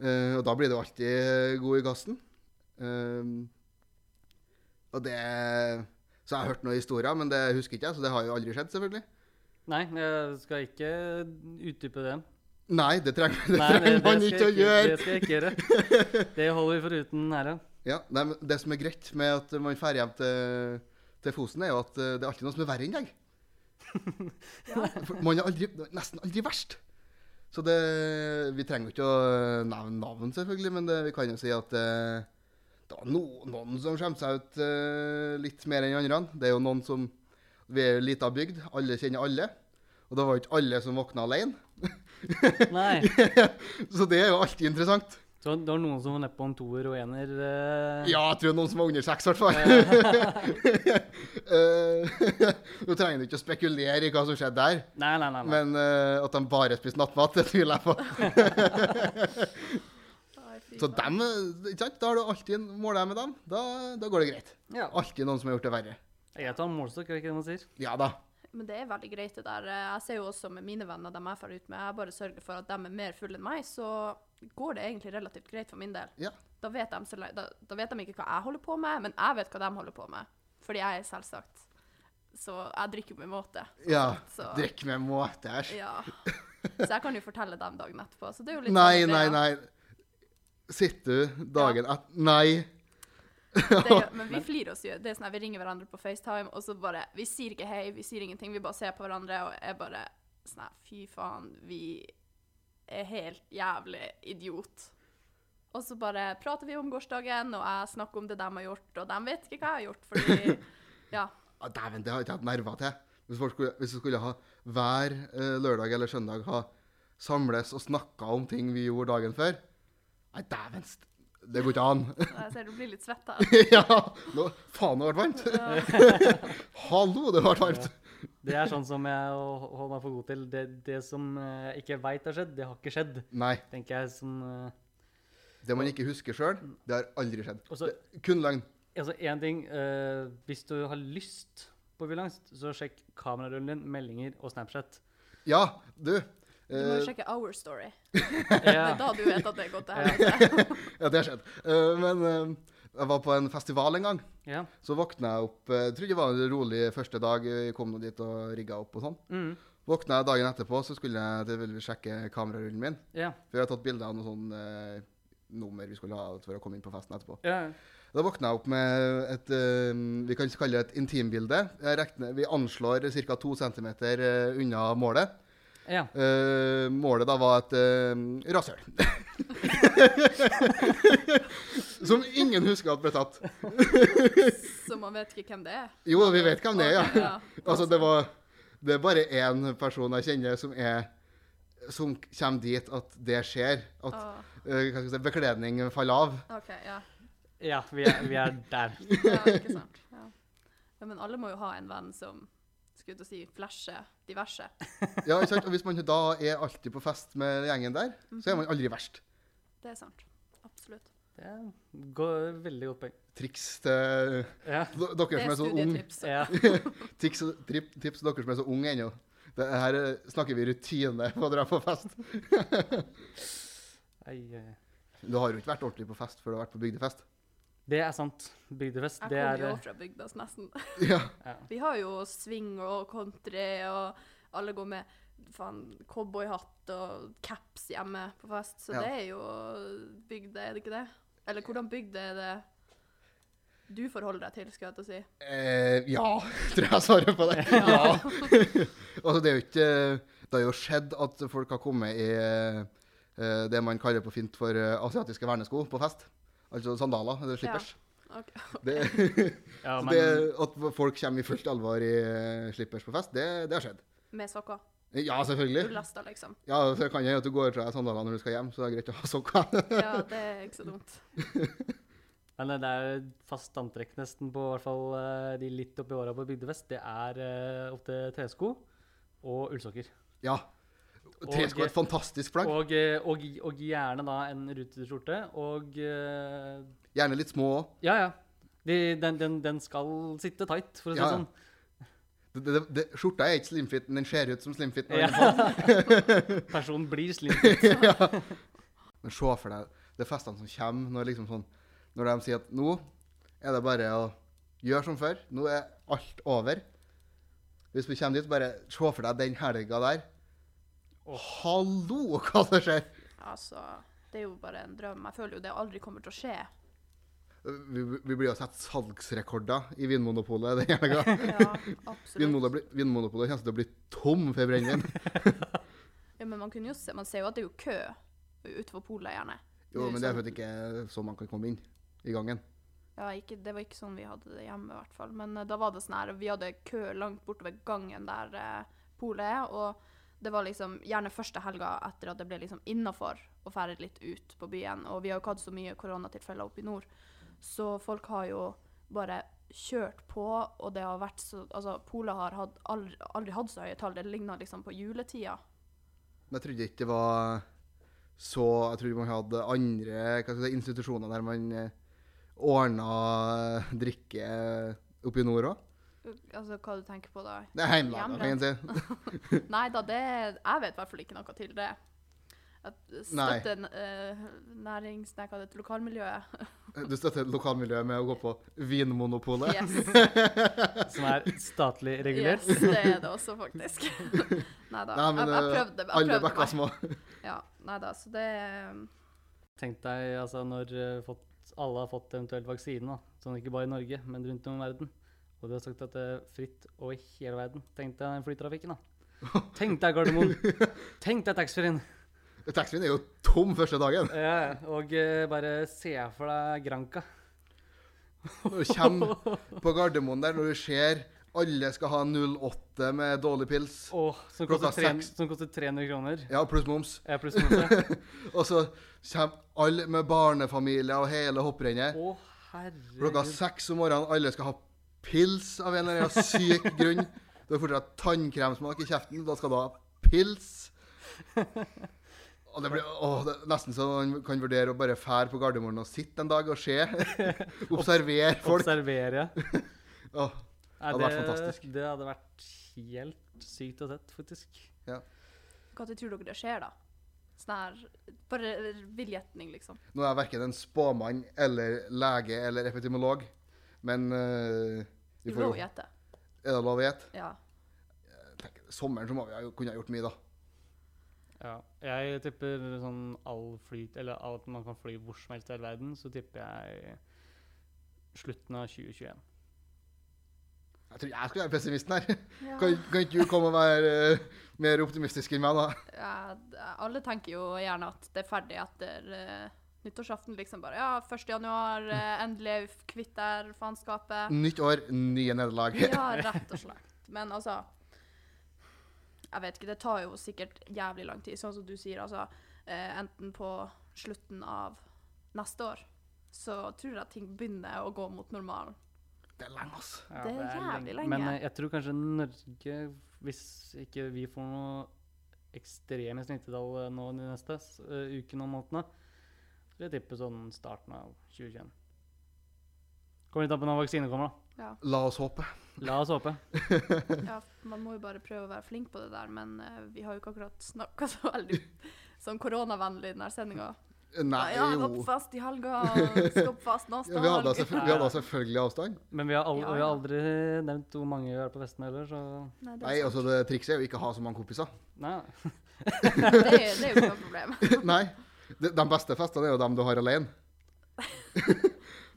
Speaker 1: Eh, og da blir det jo alltid eh, god i gassen. Ehm, og det Så jeg har hørt noen historier, men det husker ikke jeg, så det har jo aldri skjedd, selvfølgelig.
Speaker 2: Nei, jeg skal ikke utdype den.
Speaker 1: Nei, det trenger, [LAUGHS] det
Speaker 2: Nei,
Speaker 1: trenger
Speaker 2: det
Speaker 1: man
Speaker 2: skal
Speaker 1: ikke å
Speaker 2: jeg
Speaker 1: gjøre!
Speaker 2: Det skal jeg ikke
Speaker 1: [LAUGHS]
Speaker 2: gjøre. Det holder vi foruten her, ja.
Speaker 1: Ja, nei, men Det som er greit med at man drar hjem til, til Fosen, er jo at eh, det er alltid noe som er verre enn deg. For man er aldri, nesten aldri verst. Så det, vi trenger jo ikke å eh, nevne navn, selvfølgelig, men det, vi kan jo si at eh, det var no, noen som skjemte seg ut eh, litt mer enn andre. Det er jo noen som Vi er jo ei lita bygd, alle kjenner alle. Og det var jo ikke alle som våkna alene. [LAUGHS]
Speaker 2: Nei.
Speaker 1: Så det er jo alltid interessant.
Speaker 2: Så det var noen som var nedpå en toer og ener. eh,
Speaker 1: Ja, jeg tror noen som var under seks, i hvert fall. Eh, [LAUGHS] Nå trenger du ikke å spekulere i hva som skjedde der,
Speaker 2: Nei, nei, nei. nei.
Speaker 1: men eh, at de bare spiste nattmat, det tviler jeg på.
Speaker 3: Ai, fy
Speaker 1: Så
Speaker 3: faen.
Speaker 1: dem, eh, ikke sant? Da har du alltid en måler med dem. Da, da går det greit.
Speaker 2: Ja.
Speaker 1: Alltid noen som har gjort det verre.
Speaker 2: Jeg tar målestokk, er det ikke det man sier?
Speaker 1: Ja da.
Speaker 3: Men det er veldig greit, det der. Eh, Jeg ser jo også med mine venner, dem jeg drar ut med, jeg bare sørger for at de er mer fulle enn meg, så går det egentlig relativt greit for min del.
Speaker 1: Ja.
Speaker 3: Da, vet de, så le- da, da vet de ikke hva jeg holder på med, men jeg vet hva de holder på med. Fordi jeg er selvsagt. Så jeg drikker med måte.
Speaker 1: ja.
Speaker 3: Så-
Speaker 1: Drikk med måte her.
Speaker 3: Ja. Så jeg kan jo fortelle dem dagen etterpå. Så det er jo litt
Speaker 1: Nei,
Speaker 3: sånn
Speaker 1: nei,
Speaker 3: greia.
Speaker 1: nei. Sitter du dagen etter Nei.
Speaker 3: Det er,
Speaker 1: [LAUGHS]
Speaker 3: jo- men vi flirer oss jo. Det er sånn at Vi ringer hverandre på FaceTime, og så bare Vi sier ikke hei, vi sier ingenting. Vi bare ser på hverandre og er bare sånn her Fy faen, vi er helt jævlig idiot. Og så bare prater vi om gårsdagen, og jeg snakker om det de har gjort, og de vet ikke hva jeg har gjort, fordi
Speaker 1: [LAUGHS]
Speaker 3: Ja.
Speaker 1: Ah, Dæven, det har jeg ikke hatt nerver til. Hvis folk skulle, hvis vi skulle ha hver eh, lørdag eller søndag ha samles og snakka om ting vi gjorde dagen før Nei, dæven, st- det går ikke an. [LAUGHS]
Speaker 3: Jeg ser du blir litt svett her.
Speaker 1: ja, nå, faen, det ble varmt. [LAUGHS] Hallo, det ble varmt.
Speaker 2: Det er sånn som jeg ho- holder meg for god til. Det, det som eh, jeg ikke veit har skjedd, det har ikke skjedd.
Speaker 1: Nei.
Speaker 2: tenker jeg som... eh,
Speaker 1: Det man ikke husker sjøl, det har aldri skjedd.
Speaker 2: Og så-
Speaker 1: Det- Kun løgn.
Speaker 2: Altså, én ting eh, Hvis du har lyst på vilangst, så sjekk kamerarullen din, meldinger og
Speaker 1: [LAUGHS]
Speaker 2: Snapchat.
Speaker 1: Ja, du.
Speaker 3: Du må
Speaker 1: eh,
Speaker 3: jo sjekke Our Story. Det
Speaker 2: Ja,
Speaker 3: er da du vet at det er godt. Det her.
Speaker 1: ja, det har skjedd. Eh, men eh, jeg var på en festival en gang.
Speaker 2: ja.
Speaker 1: Så våkna jeg opp eh, Jeg trodde det var en rolig første dag. Jeg kom nå dit og rigga opp og sånn.
Speaker 2: Mm,
Speaker 1: Våkna jeg dagen etterpå, så skulle jeg tilfeldigvis sjekke kamerarullen min.
Speaker 2: ja.
Speaker 1: For jeg hadde tatt bilde av noe sånn eh, nummer vi skulle ha for å komme inn på festen etterpå.
Speaker 2: ja.
Speaker 1: Da våkna jeg opp med et eh, vi kan kalle det et intimbilde. Jeg regner, vi anslår ca. 2 cm eh, unna målet.
Speaker 2: ja.
Speaker 1: Eh, målet da var et uh, rasshøl. [LAUGHS] Som ingen husker at ble tatt.
Speaker 3: Så man vet ikke hvem det er.
Speaker 1: Jo, vi vet hvem det er,
Speaker 3: Ok,
Speaker 1: ja. Altså, det var Det er bare én person jeg kjenner som er Som kommer dit at det skjer. At
Speaker 3: Åh,
Speaker 1: eh, hva skal jeg si, bekledning faller av.
Speaker 3: OK, ja.
Speaker 2: ja vi, er, vi er der.
Speaker 3: Ja,
Speaker 1: [LAUGHS]
Speaker 3: ikke sant. Ja. Ja, men alle må jo ha en venn som skulle til å si flasher diverse.
Speaker 1: Ja, ikke sant? Og hvis man da er alltid på fest med gjengen der, så er man aldri verst.
Speaker 3: Det er sant. Absolutt.
Speaker 2: Det er go- veldig godt poeng.
Speaker 1: Triks til
Speaker 2: Ja.
Speaker 1: d- dere
Speaker 3: Det
Speaker 1: som
Speaker 3: er
Speaker 1: er så unge.
Speaker 3: studietips.
Speaker 2: Ja.
Speaker 1: Tips, trip, tips til dere som er så unge ennå. Det her eh, snakker vi rutine på å dra på fest.
Speaker 2: Ei, eh,
Speaker 1: Du har jo ikke vært ordentlig på fest før du har vært på bygdefest.
Speaker 2: Det er sant. Bygdefest,
Speaker 3: Jeg
Speaker 2: det
Speaker 3: kommer
Speaker 2: er
Speaker 3: jo
Speaker 2: eh,
Speaker 3: fra bygdas, nesten.
Speaker 1: Ja.
Speaker 2: ja.
Speaker 3: Vi har jo swing og country, og alle går med faen, cowboyhatt og caps hjemme på fest, så
Speaker 1: Ja.
Speaker 3: det er jo bygd, er det ikke det? Eller hvordan bygd er det du forholder deg til, skal jeg til å si?
Speaker 1: Eh, ja, [LAUGHS] tror jeg svarer på det. Ja. [LAUGHS] altså, det er jo ikke Det har jo skjedd at folk har kommet i eh, det man kaller på fint for eh, asiatiske vernesko på fest. Altså sandaler eller slippers.
Speaker 3: Ok.
Speaker 1: [LAUGHS] Det,
Speaker 2: eh, ja,
Speaker 1: så
Speaker 2: men
Speaker 1: det, at folk kommer i fullt alvor i eh, slippers på fest, det, det har skjedd.
Speaker 3: Med sokker.
Speaker 1: Ja, selvfølgelig.
Speaker 3: Ullester, liksom.
Speaker 1: Ja, så kan jeg at du går fra deg sandalene når du skal hjem, så det er greit å ha sokker. [LAUGHS]
Speaker 3: Ja, det er ikke så dumt.
Speaker 2: men eh, det er fast antrekk nesten på hvert fall eh, de litt oppi åra på bygdefest. Det er eh, ofte tresko og ullsokker.
Speaker 1: ja. Tresko er et fantastisk plagg.
Speaker 2: Og, eh, og, og gjerne da en rutete skjorte. Og eh,
Speaker 1: Gjerne litt små òg.
Speaker 2: ja, ja. De, den, den, den skal sitte tight, for å si det
Speaker 1: Ja, ja.
Speaker 2: sånn.
Speaker 1: Skjorta er ikke slimfit, men den ser ut som slimfit. når den er på.
Speaker 2: Ja. [LAUGHS] Personen blir slim.
Speaker 1: Men se for deg det er festene som kommer når, liksom sånn, når de sier at nå er det bare å gjøre som før. Nå er alt over. Hvis vi kommer dit, bare se for deg den helga der. Hallo, hva som skjer!
Speaker 3: Altså, det er jo bare en drøm. Jeg føler jo det aldri kommer til å skje.
Speaker 1: Vi, vi blir jo satt salgsrekorder i Vinmonopolet den
Speaker 3: [LAUGHS]
Speaker 1: helga.
Speaker 3: Ja, absolutt.
Speaker 1: Vinmonopolet, blir- Vinmonopolet kommer til å bli tom for brennevin.
Speaker 3: Ja, men man, kunne jo se, man ser jo at det er jo kø utenfor polet, gjerne.
Speaker 1: Jo, men det er for at det ikke er så man kan komme inn i gangen.
Speaker 3: Ja, ikke, Det var ikke sånn vi hadde det hjemme, i hvert fall. Men eh, da var det sånn her, vi hadde kø langt bortover gangen der eh, polet er. Og det var liksom gjerne første helga etter at det ble liksom innafor å ferde litt ut på byen. Og vi har jo ikke hatt så mye koronatilfeller oppe i nord, så folk har jo bare kjørt på, og det har vært så Altså, polet har hatt aldri, aldri hatt så høye tall. Det ligna liksom på juletida.
Speaker 1: Men jeg trodde ikke det var så Jeg trodde man hadde andre hva skal jeg si, institusjoner der man eh, ordna drikke oppe i nord òg.
Speaker 3: Altså, hva du tenker på da?
Speaker 1: Det er hjemmelaga, kan jeg si.
Speaker 3: Nei da, det Jeg vet i hvert fall ikke noe til det. At
Speaker 1: Nei.
Speaker 3: støtte uh, nærings... Nei, hva det heter
Speaker 1: [LAUGHS]
Speaker 3: Lokalmiljøet.
Speaker 1: Eh, Du støtter lokalmiljøet med å gå på Vinmonopolet.
Speaker 3: Yes.
Speaker 2: Som er statlig
Speaker 3: yes.
Speaker 2: regulert.
Speaker 3: Det er det også, faktisk. [LAUGHS] Nei da.
Speaker 1: Nei, men
Speaker 3: jeg, jeg
Speaker 1: eh,
Speaker 3: prøvde. Jeg
Speaker 1: alle
Speaker 3: prøvde
Speaker 1: bekker
Speaker 3: meg.
Speaker 1: små.
Speaker 3: Ja, nei da, så det um,
Speaker 2: Tenk deg altså, når eh, fått, alle har fått eventuelt vaksine, da. sånn ikke bare i Norge, men rundt om i verden, og du har sagt at det er fritt og i hele verden Tenk deg den flytrafikken, da. [LAUGHS] Tenk deg Gardermoen. Tenk deg taxfree-en.
Speaker 1: Taxfree-en er jo tom første dagen.
Speaker 2: Ja, ja. og eh, bare se for deg Granca.
Speaker 1: Når du kommer på Gardermoen der, når du ser alle skal ha 08 med dårlig pils,
Speaker 2: Åh, som,
Speaker 1: Klokka
Speaker 2: koster tre,
Speaker 1: seks.
Speaker 2: som koster 300 [LAUGHS] kroner.
Speaker 1: ja, pluss moms,
Speaker 2: Ja, pluss masse.
Speaker 1: og så kommer alle med barnefamilie og hele hopprennet
Speaker 2: Å,
Speaker 1: Klokka
Speaker 2: herregud.
Speaker 1: seks om morgenen, alle skal ha pils av en eller annen syk grunn. Du har fortsatt tannkremsmak i kjeften, da skal du ha pils. Og det blir åh, det er nesten så man kan vurdere å bare fære på Gardermoen og sitte en dag og se. Observere folk.
Speaker 2: Observerer jeg.
Speaker 1: Åh,
Speaker 2: Nei,
Speaker 1: hadde
Speaker 2: det,
Speaker 1: vært fantastisk.
Speaker 2: det hadde vært helt sykt å sett, faktisk.
Speaker 3: Hva tid tror dere det skjer, da? Sånn her Bare vill gjetning, liksom.
Speaker 1: Nå er jeg verken en spåmann eller lege eller epidemiolog, men øh,
Speaker 3: Du
Speaker 1: vi får
Speaker 3: må
Speaker 1: jo
Speaker 3: jo gjette.
Speaker 1: Er det lov å gjette?
Speaker 3: Ja.
Speaker 1: Jeg tenker, Sommeren så må vi ha kunne ha gjort mye, da.
Speaker 2: Ja. Jeg tipper sånn all flyt, eller alt man kan fly hvor som helst i hele verden, så tipper jeg slutten av 2021.
Speaker 1: Jeg tror jeg skal være pessimisten her.
Speaker 3: ja.
Speaker 1: Kan, kan ikke du komme og være eh, mer optimistisk enn meg, da?
Speaker 3: Ja, d- alle tenker jo gjerne at det er ferdig etter eh, nyttårsaften. liksom bare, Ja, 1. januar, eh, endelig er vi kvitt der faenskapet.
Speaker 1: Nytt år, nye nederlag.
Speaker 3: Ja, rett og slett. Men altså Jeg vet ikke, det tar jo sikkert jævlig lang tid. Sånn som du sier, altså. eh, enten på slutten av neste år, så tror jeg at ting begynner å gå mot normalen.
Speaker 1: [LAUGHS] Det er lenge, altså.
Speaker 2: Ja,
Speaker 3: Det er jævlig lenge.
Speaker 2: Men eh, jeg tror kanskje Norge, hvis ikke vi får noe ekstreme smittetall eh, nå de neste s- eh, ukene og månedene, så vil jeg tippe sånn starten av 2021. Kommer litt an på når vaksinen kommer, da.
Speaker 3: Ja.
Speaker 1: La oss håpe.
Speaker 2: La oss håpe.
Speaker 3: ja, man må jo bare prøve å være flink på det der, men eh, vi har jo ikke akkurat snakka så veldig sånn koronavennlig i denne sendinga.
Speaker 1: Nei,
Speaker 3: ja, ja,
Speaker 1: jo.
Speaker 3: hopp fast i helga, og stopp fast neste
Speaker 1: Ja, vi hadde altså da
Speaker 3: helg.
Speaker 1: selvfølgelig, vi hadde da selvfølgelig avstand.
Speaker 2: Men vi har, al og
Speaker 3: Ja,
Speaker 2: vi har
Speaker 3: ja.
Speaker 2: aldri nevnt hvor mange vi er på festen heller, så
Speaker 3: Nei, det,
Speaker 1: Nei,
Speaker 3: er sant.
Speaker 1: altså det Trikset er jo ikke å ha så mange kompiser. [LAUGHS]
Speaker 2: Nei.
Speaker 3: det, er- det er jo ikke noe problem.
Speaker 1: Nei. De, de beste festene er jo dem du har
Speaker 3: [LAUGHS]
Speaker 1: alene.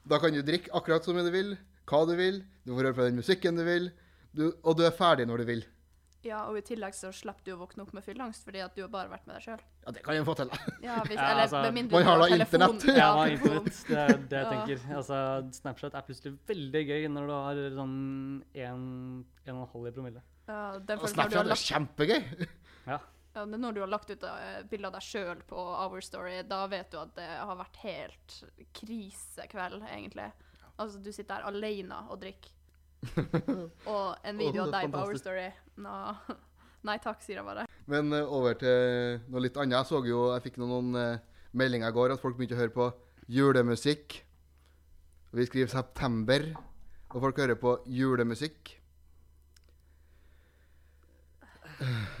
Speaker 1: da kan du drikke akkurat som du vil, hva du vil, du får høre på den musikken du vil, du, og du er ferdig når du vil.
Speaker 3: Ja, og i tillegg så slipper du å våkne opp med fylleangst, fordi at du har bare vært med deg sjøl.
Speaker 1: Ja, det kan jeg få til.
Speaker 3: Ja, hvis,
Speaker 2: Ja,
Speaker 3: eller
Speaker 2: altså,
Speaker 3: med mindre
Speaker 1: man
Speaker 3: du
Speaker 1: har da
Speaker 3: telefon.
Speaker 1: internett.
Speaker 2: Ja,
Speaker 3: [LAUGHS] Ja,
Speaker 2: men
Speaker 3: telefon.
Speaker 2: internett. Det er det jeg
Speaker 3: Ja.
Speaker 2: tenker. Altså, Snapchat er plutselig veldig gøy når du har sånn 1,5 i promille.
Speaker 3: Ja, den
Speaker 1: Og
Speaker 3: følelsen når du har
Speaker 1: Snapchat er
Speaker 3: lagt,
Speaker 1: kjempegøy.
Speaker 2: Ja.
Speaker 3: ja, det er når du har lagt ut eh, bilde av deg sjøl på Our Story, da vet du at det har vært helt krisekveld, egentlig. Altså, du sitter der aleine og
Speaker 1: [LAUGHS]
Speaker 3: drikker. Og en
Speaker 1: Åh,
Speaker 3: video av
Speaker 1: det er
Speaker 3: deg på Our
Speaker 1: fantastisk.
Speaker 3: Story. Nå. [LAUGHS] Nei takk, sier jeg bare.
Speaker 1: Men eh, over til noe litt annet. Jeg så jo, jeg fikk noen, noen eh, meldinger i går at folk begynte å høre på julemusikk. Vi skriver september, og folk hører på julemusikk.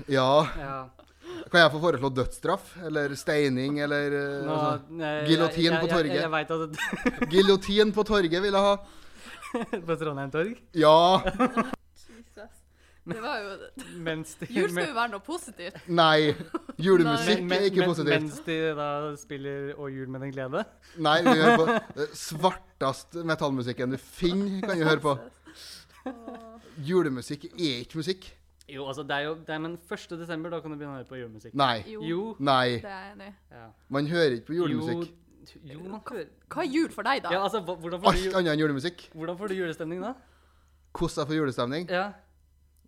Speaker 1: Ja
Speaker 2: ja.
Speaker 1: Kan jeg få foreslå dødsstraff? Eller steining? Eller eh,
Speaker 2: Nå,
Speaker 1: altså,
Speaker 2: jeg-
Speaker 1: giljotin
Speaker 2: jeg-
Speaker 1: på
Speaker 2: jeg-
Speaker 1: torget.
Speaker 2: Jeg, jeg veit at det,
Speaker 1: Giljotin
Speaker 2: [LAUGHS]
Speaker 1: på torget vil jeg ha.
Speaker 2: På Trondheim torg?
Speaker 1: Ja!
Speaker 3: Jesus. Det var jo
Speaker 2: Mens de,
Speaker 3: Jul skal jo være noe positivt.
Speaker 1: Nei! Julemusikk
Speaker 2: men,
Speaker 1: er ikke
Speaker 2: men,
Speaker 1: positivt.
Speaker 2: mens de da spiller 'Å jul med den glede'.
Speaker 1: Nei, vi hører på eh, svartest metallmusikken du finner, kan du høre på. Julemusikk er ikke musikk.
Speaker 2: Jo, altså, det er jo det er, Men 1. desember, da kan du begynne å høre på julemusikk.
Speaker 1: Nei.
Speaker 3: [LAUGHS] Jo,
Speaker 2: Jo.
Speaker 1: Nei.
Speaker 3: det er jeg enig i.
Speaker 2: Ja.
Speaker 1: Man hører ikke på julemusikk.
Speaker 2: Jo, jo man hører
Speaker 3: Hva er jul for deg, da?
Speaker 2: Ja, altså, hva- hvordan får, du,
Speaker 1: Alt
Speaker 2: ju-
Speaker 1: annet enn julemusikk.
Speaker 2: hvordan får du julestemning da?
Speaker 1: Hvordan jeg får julestemning?
Speaker 2: Ja.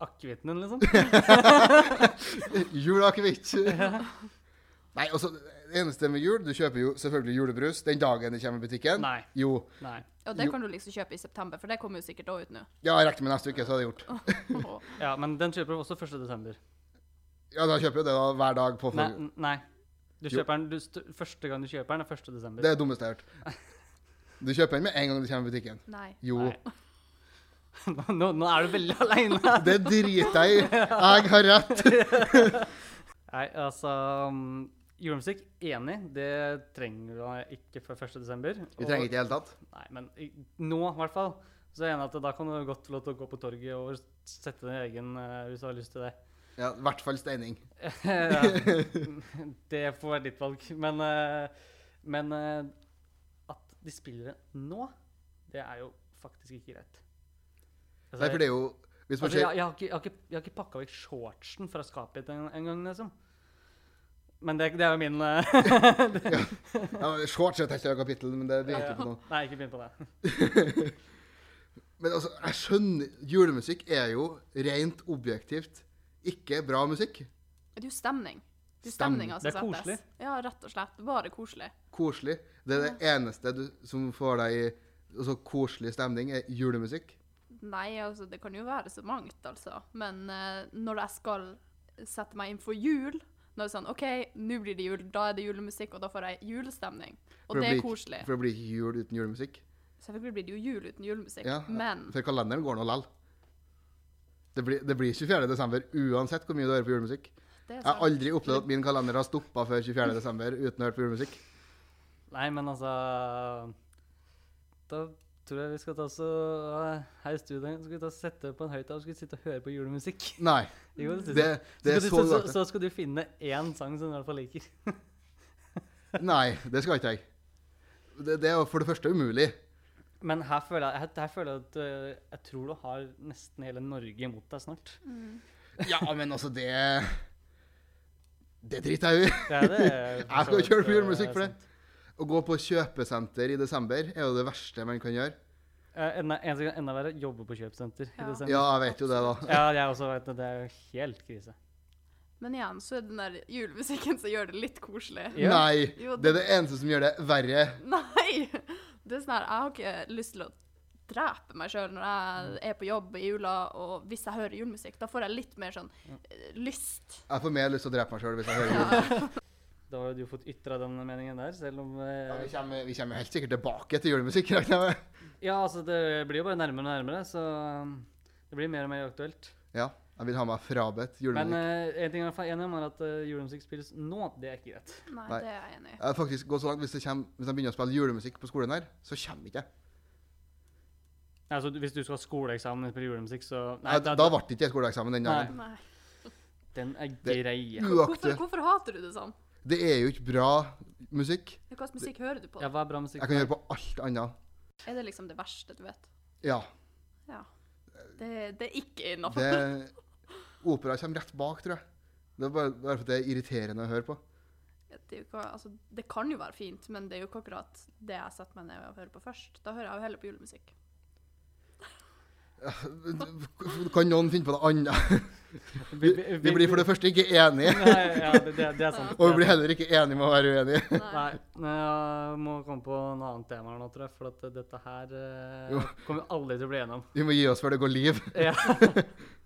Speaker 2: Akevitten,
Speaker 1: [LAUGHS]
Speaker 2: liksom?
Speaker 1: Jul har ikke vitt. [LAUGHS] Nei, altså, det eneste med jul Du kjøper jo selvfølgelig julebrus den dagen det kommer i butikken.
Speaker 2: Nei.
Speaker 1: Jo.
Speaker 2: Nei.
Speaker 3: Og det
Speaker 1: jo.
Speaker 3: kan du liksom kjøpe i september, for det kommer jo sikkert også ut
Speaker 1: [LAUGHS]
Speaker 3: nå.
Speaker 1: Ja, jeg rekker med neste uke, så hadde jeg gjort.
Speaker 3: Åh.
Speaker 2: Ja, men den kjøper du også 1. desember.
Speaker 1: Ja, da kjøper jeg det da hver dag på
Speaker 2: Nei.
Speaker 1: forrige.
Speaker 2: n- nei. Du
Speaker 1: Jo.
Speaker 2: kjøper den, du st første gang du kjøper den, er 1. desember.
Speaker 1: Det er det dummeste jeg har hørt. Du kjøper den med en gang det kommer i butikken.
Speaker 3: Nei.
Speaker 1: Jo.
Speaker 2: Nei. [LAUGHS] Nå, nå er du veldig [LAUGHS] aleine.
Speaker 1: [LAUGHS] Det driter
Speaker 2: [LAUGHS]
Speaker 1: jeg i. Jeg har rett.
Speaker 2: Nei, altså mm, Julemusikk, enig. Det trenger du ikke før 1. desember.
Speaker 1: Vi trenger ikke i det hele tatt.
Speaker 2: Nei, men i- nå, i hvert fall, så er jeg enig at da kan du godt få lov til å gå på torget og sette din egen eh, hvis du har lyst til det.
Speaker 1: Ja, I hvert fall steining.
Speaker 2: ja. [LAUGHS] Det får være ditt valg. Men, eh, men eh, at de spiller det nå, det er jo faktisk ikke greit. Altså,
Speaker 1: Nei, for det er jo Hvis man
Speaker 2: altså, jeg,
Speaker 1: ser
Speaker 2: jeg, har ikke, jeg, har ikke, jeg har ikke pakka vekk shortsen fra skapet en, en gang, liksom. Men det, det er jo min eh,
Speaker 1: ja, Shorts er et helt annet kapittel, men det begynte ikke på noe.
Speaker 2: [LAUGHS] Nei, ikke begynn på det.
Speaker 1: Men altså, jeg skjønner Julemusikk er jo rent objektivt ikke bra musikk.
Speaker 3: Det er jo stemning. Det er jo
Speaker 1: Stemning.
Speaker 3: stemninga som
Speaker 2: Det er
Speaker 3: settes.
Speaker 2: koselig.
Speaker 3: Ja, rett og slett. Bare koselig.
Speaker 1: Koselig. Det er det eneste du, som får deg i altså, koselig stemning, er julemusikk.
Speaker 3: Nei, altså, det kan jo være så mangt, altså. Men eh, når jeg skal sette meg inn for jul, når det er sånn OK, nå blir det jul, da er det julemusikk, og da får jeg julestemning. Og
Speaker 1: For
Speaker 3: det er
Speaker 1: blir-
Speaker 3: koselig.
Speaker 1: For det blir ikke jul uten julemusikk.
Speaker 3: Selvfølgelig blir det jo jul uten julemusikk,
Speaker 1: Ja,
Speaker 3: men
Speaker 1: For kalenderen går nå lell. Det blir, det blir 24. desember uansett hvor mye du hører på julemusikk.
Speaker 3: det er
Speaker 1: Jeg
Speaker 3: sånn-
Speaker 1: har
Speaker 3: sant.
Speaker 1: aldri opplevd at min kalender har stoppa før 24. desember uten å høre på julemusikk.
Speaker 2: Nei, men altså Da tror jeg vi skal ta oss og eh, Her i studio skal vi ta og sette på en høyttaler og skal vi sitte og høre på julemusikk. [LAUGHS]
Speaker 1: Nei.
Speaker 2: Jo, det synes
Speaker 1: Det,
Speaker 2: jeg.
Speaker 1: det er så
Speaker 2: så, skal du, så,
Speaker 1: langt.
Speaker 2: så, så skal du finne én sang som du i hvert fall liker.
Speaker 1: Nei, det skal ikke jeg. Det, det er jo for det første umulig.
Speaker 2: Men her føler jeg, her, her føler jeg at øh, jeg tror du har nesten hele Norge imot deg snart.
Speaker 1: Ja, men altså, det Det driter jeg i.
Speaker 2: Det er
Speaker 1: [LAUGHS]
Speaker 2: det. for
Speaker 1: Jeg skal
Speaker 2: så
Speaker 1: ikke høre på
Speaker 2: vidt, øh,
Speaker 1: julemusikk for det.
Speaker 2: sant.
Speaker 1: Å gå på kjøpesenter i desember er jo det verste man kan gjøre.
Speaker 2: Eh, enda- En som kan enda verre, jobbe på kjøpesenter i
Speaker 3: Ja.
Speaker 2: desember.
Speaker 1: Ja, jeg vet jo det, da.
Speaker 2: Ja, jeg også vet det. Det er jo helt krise.
Speaker 3: Men igjen så er det den der julemusikken som gjør det litt koselig.
Speaker 2: Ja.
Speaker 1: Nei.
Speaker 3: Jo,
Speaker 1: Det er det eneste som gjør det verre.
Speaker 3: Nei! Det er sånn her, Jeg har ikke lyst til å drepe meg sjøl når jeg er på jobb i jula, og hvis jeg hører julemusikk. Da får jeg litt mer sånn eh, lyst.
Speaker 1: Jeg får mer lyst til å drepe meg sjøl hvis jeg hører jul.
Speaker 3: Ja.
Speaker 2: Da har jo du fått ytra den meningen der, selv om
Speaker 1: Ja, vi,
Speaker 2: øh,
Speaker 1: kommer, vi kommer helt sikkert tilbake til julemusikk. regner jeg med.
Speaker 2: Ja, altså, det blir jo bare nærmere og nærmere, så øh, det blir mer og mer aktuelt.
Speaker 1: Ja, jeg vil ha meg frabedt
Speaker 2: Men
Speaker 1: julemusikk.
Speaker 2: øh, en ting jeg er i hvert fall enig om, er at øh, julemusikk spilles nå. Det er ikke greit.
Speaker 3: Nei,
Speaker 1: Nei.
Speaker 3: det er jeg enig i.
Speaker 1: Jeg har faktisk gått så langt hvis, det kommer, hvis de begynner å spille julemusikk på skolen her, så kommer ikke jeg.
Speaker 2: Altså, hvis du skal ha skoleeksamen på julemusikk, så
Speaker 1: Nei, Da ble det ikke skoleeksamen den dagen.
Speaker 2: Nei.
Speaker 3: Nei.
Speaker 2: Den er
Speaker 1: Det-
Speaker 2: grei.
Speaker 1: Uaktuelt.
Speaker 3: Hvorfor, hvorfor hater du det sånn?
Speaker 1: Det er jo ikke bra musikk.
Speaker 3: Hva slags musikk hører du på?
Speaker 2: Ja, hva er bra musikk?
Speaker 1: Jeg kan høre på alt annet.
Speaker 3: Er det liksom det verste du vet?
Speaker 1: Ja.
Speaker 3: Ja. Det, det er ikke innafor.
Speaker 1: Det, opera kommer rett bak, tror jeg. Det er bare, bare fordi det er irriterende å høre på.
Speaker 3: [LAUGHS] Det, er jo ikke- altså, det kan jo være fint, men det er jo ikke akkurat det jeg setter meg ned og hører på først. Da hører jeg jo heller på julemusikk.
Speaker 1: Kan noen finne på noe annet?
Speaker 2: Vi,
Speaker 1: Vi, vi blir for det første ikke enige,
Speaker 2: Nei, ja, det, det, det er sant.
Speaker 1: og vi blir heller ikke enige med å være uenige.
Speaker 2: Nei,
Speaker 3: Nei.
Speaker 2: men jeg må komme på en annen tema nå, tror jeg, for at dette her eh,
Speaker 1: Jo. [LAUGHS]
Speaker 2: kommer vi aldri til å bli enige om.
Speaker 1: Vi må gi oss før det går liv.
Speaker 2: Ja.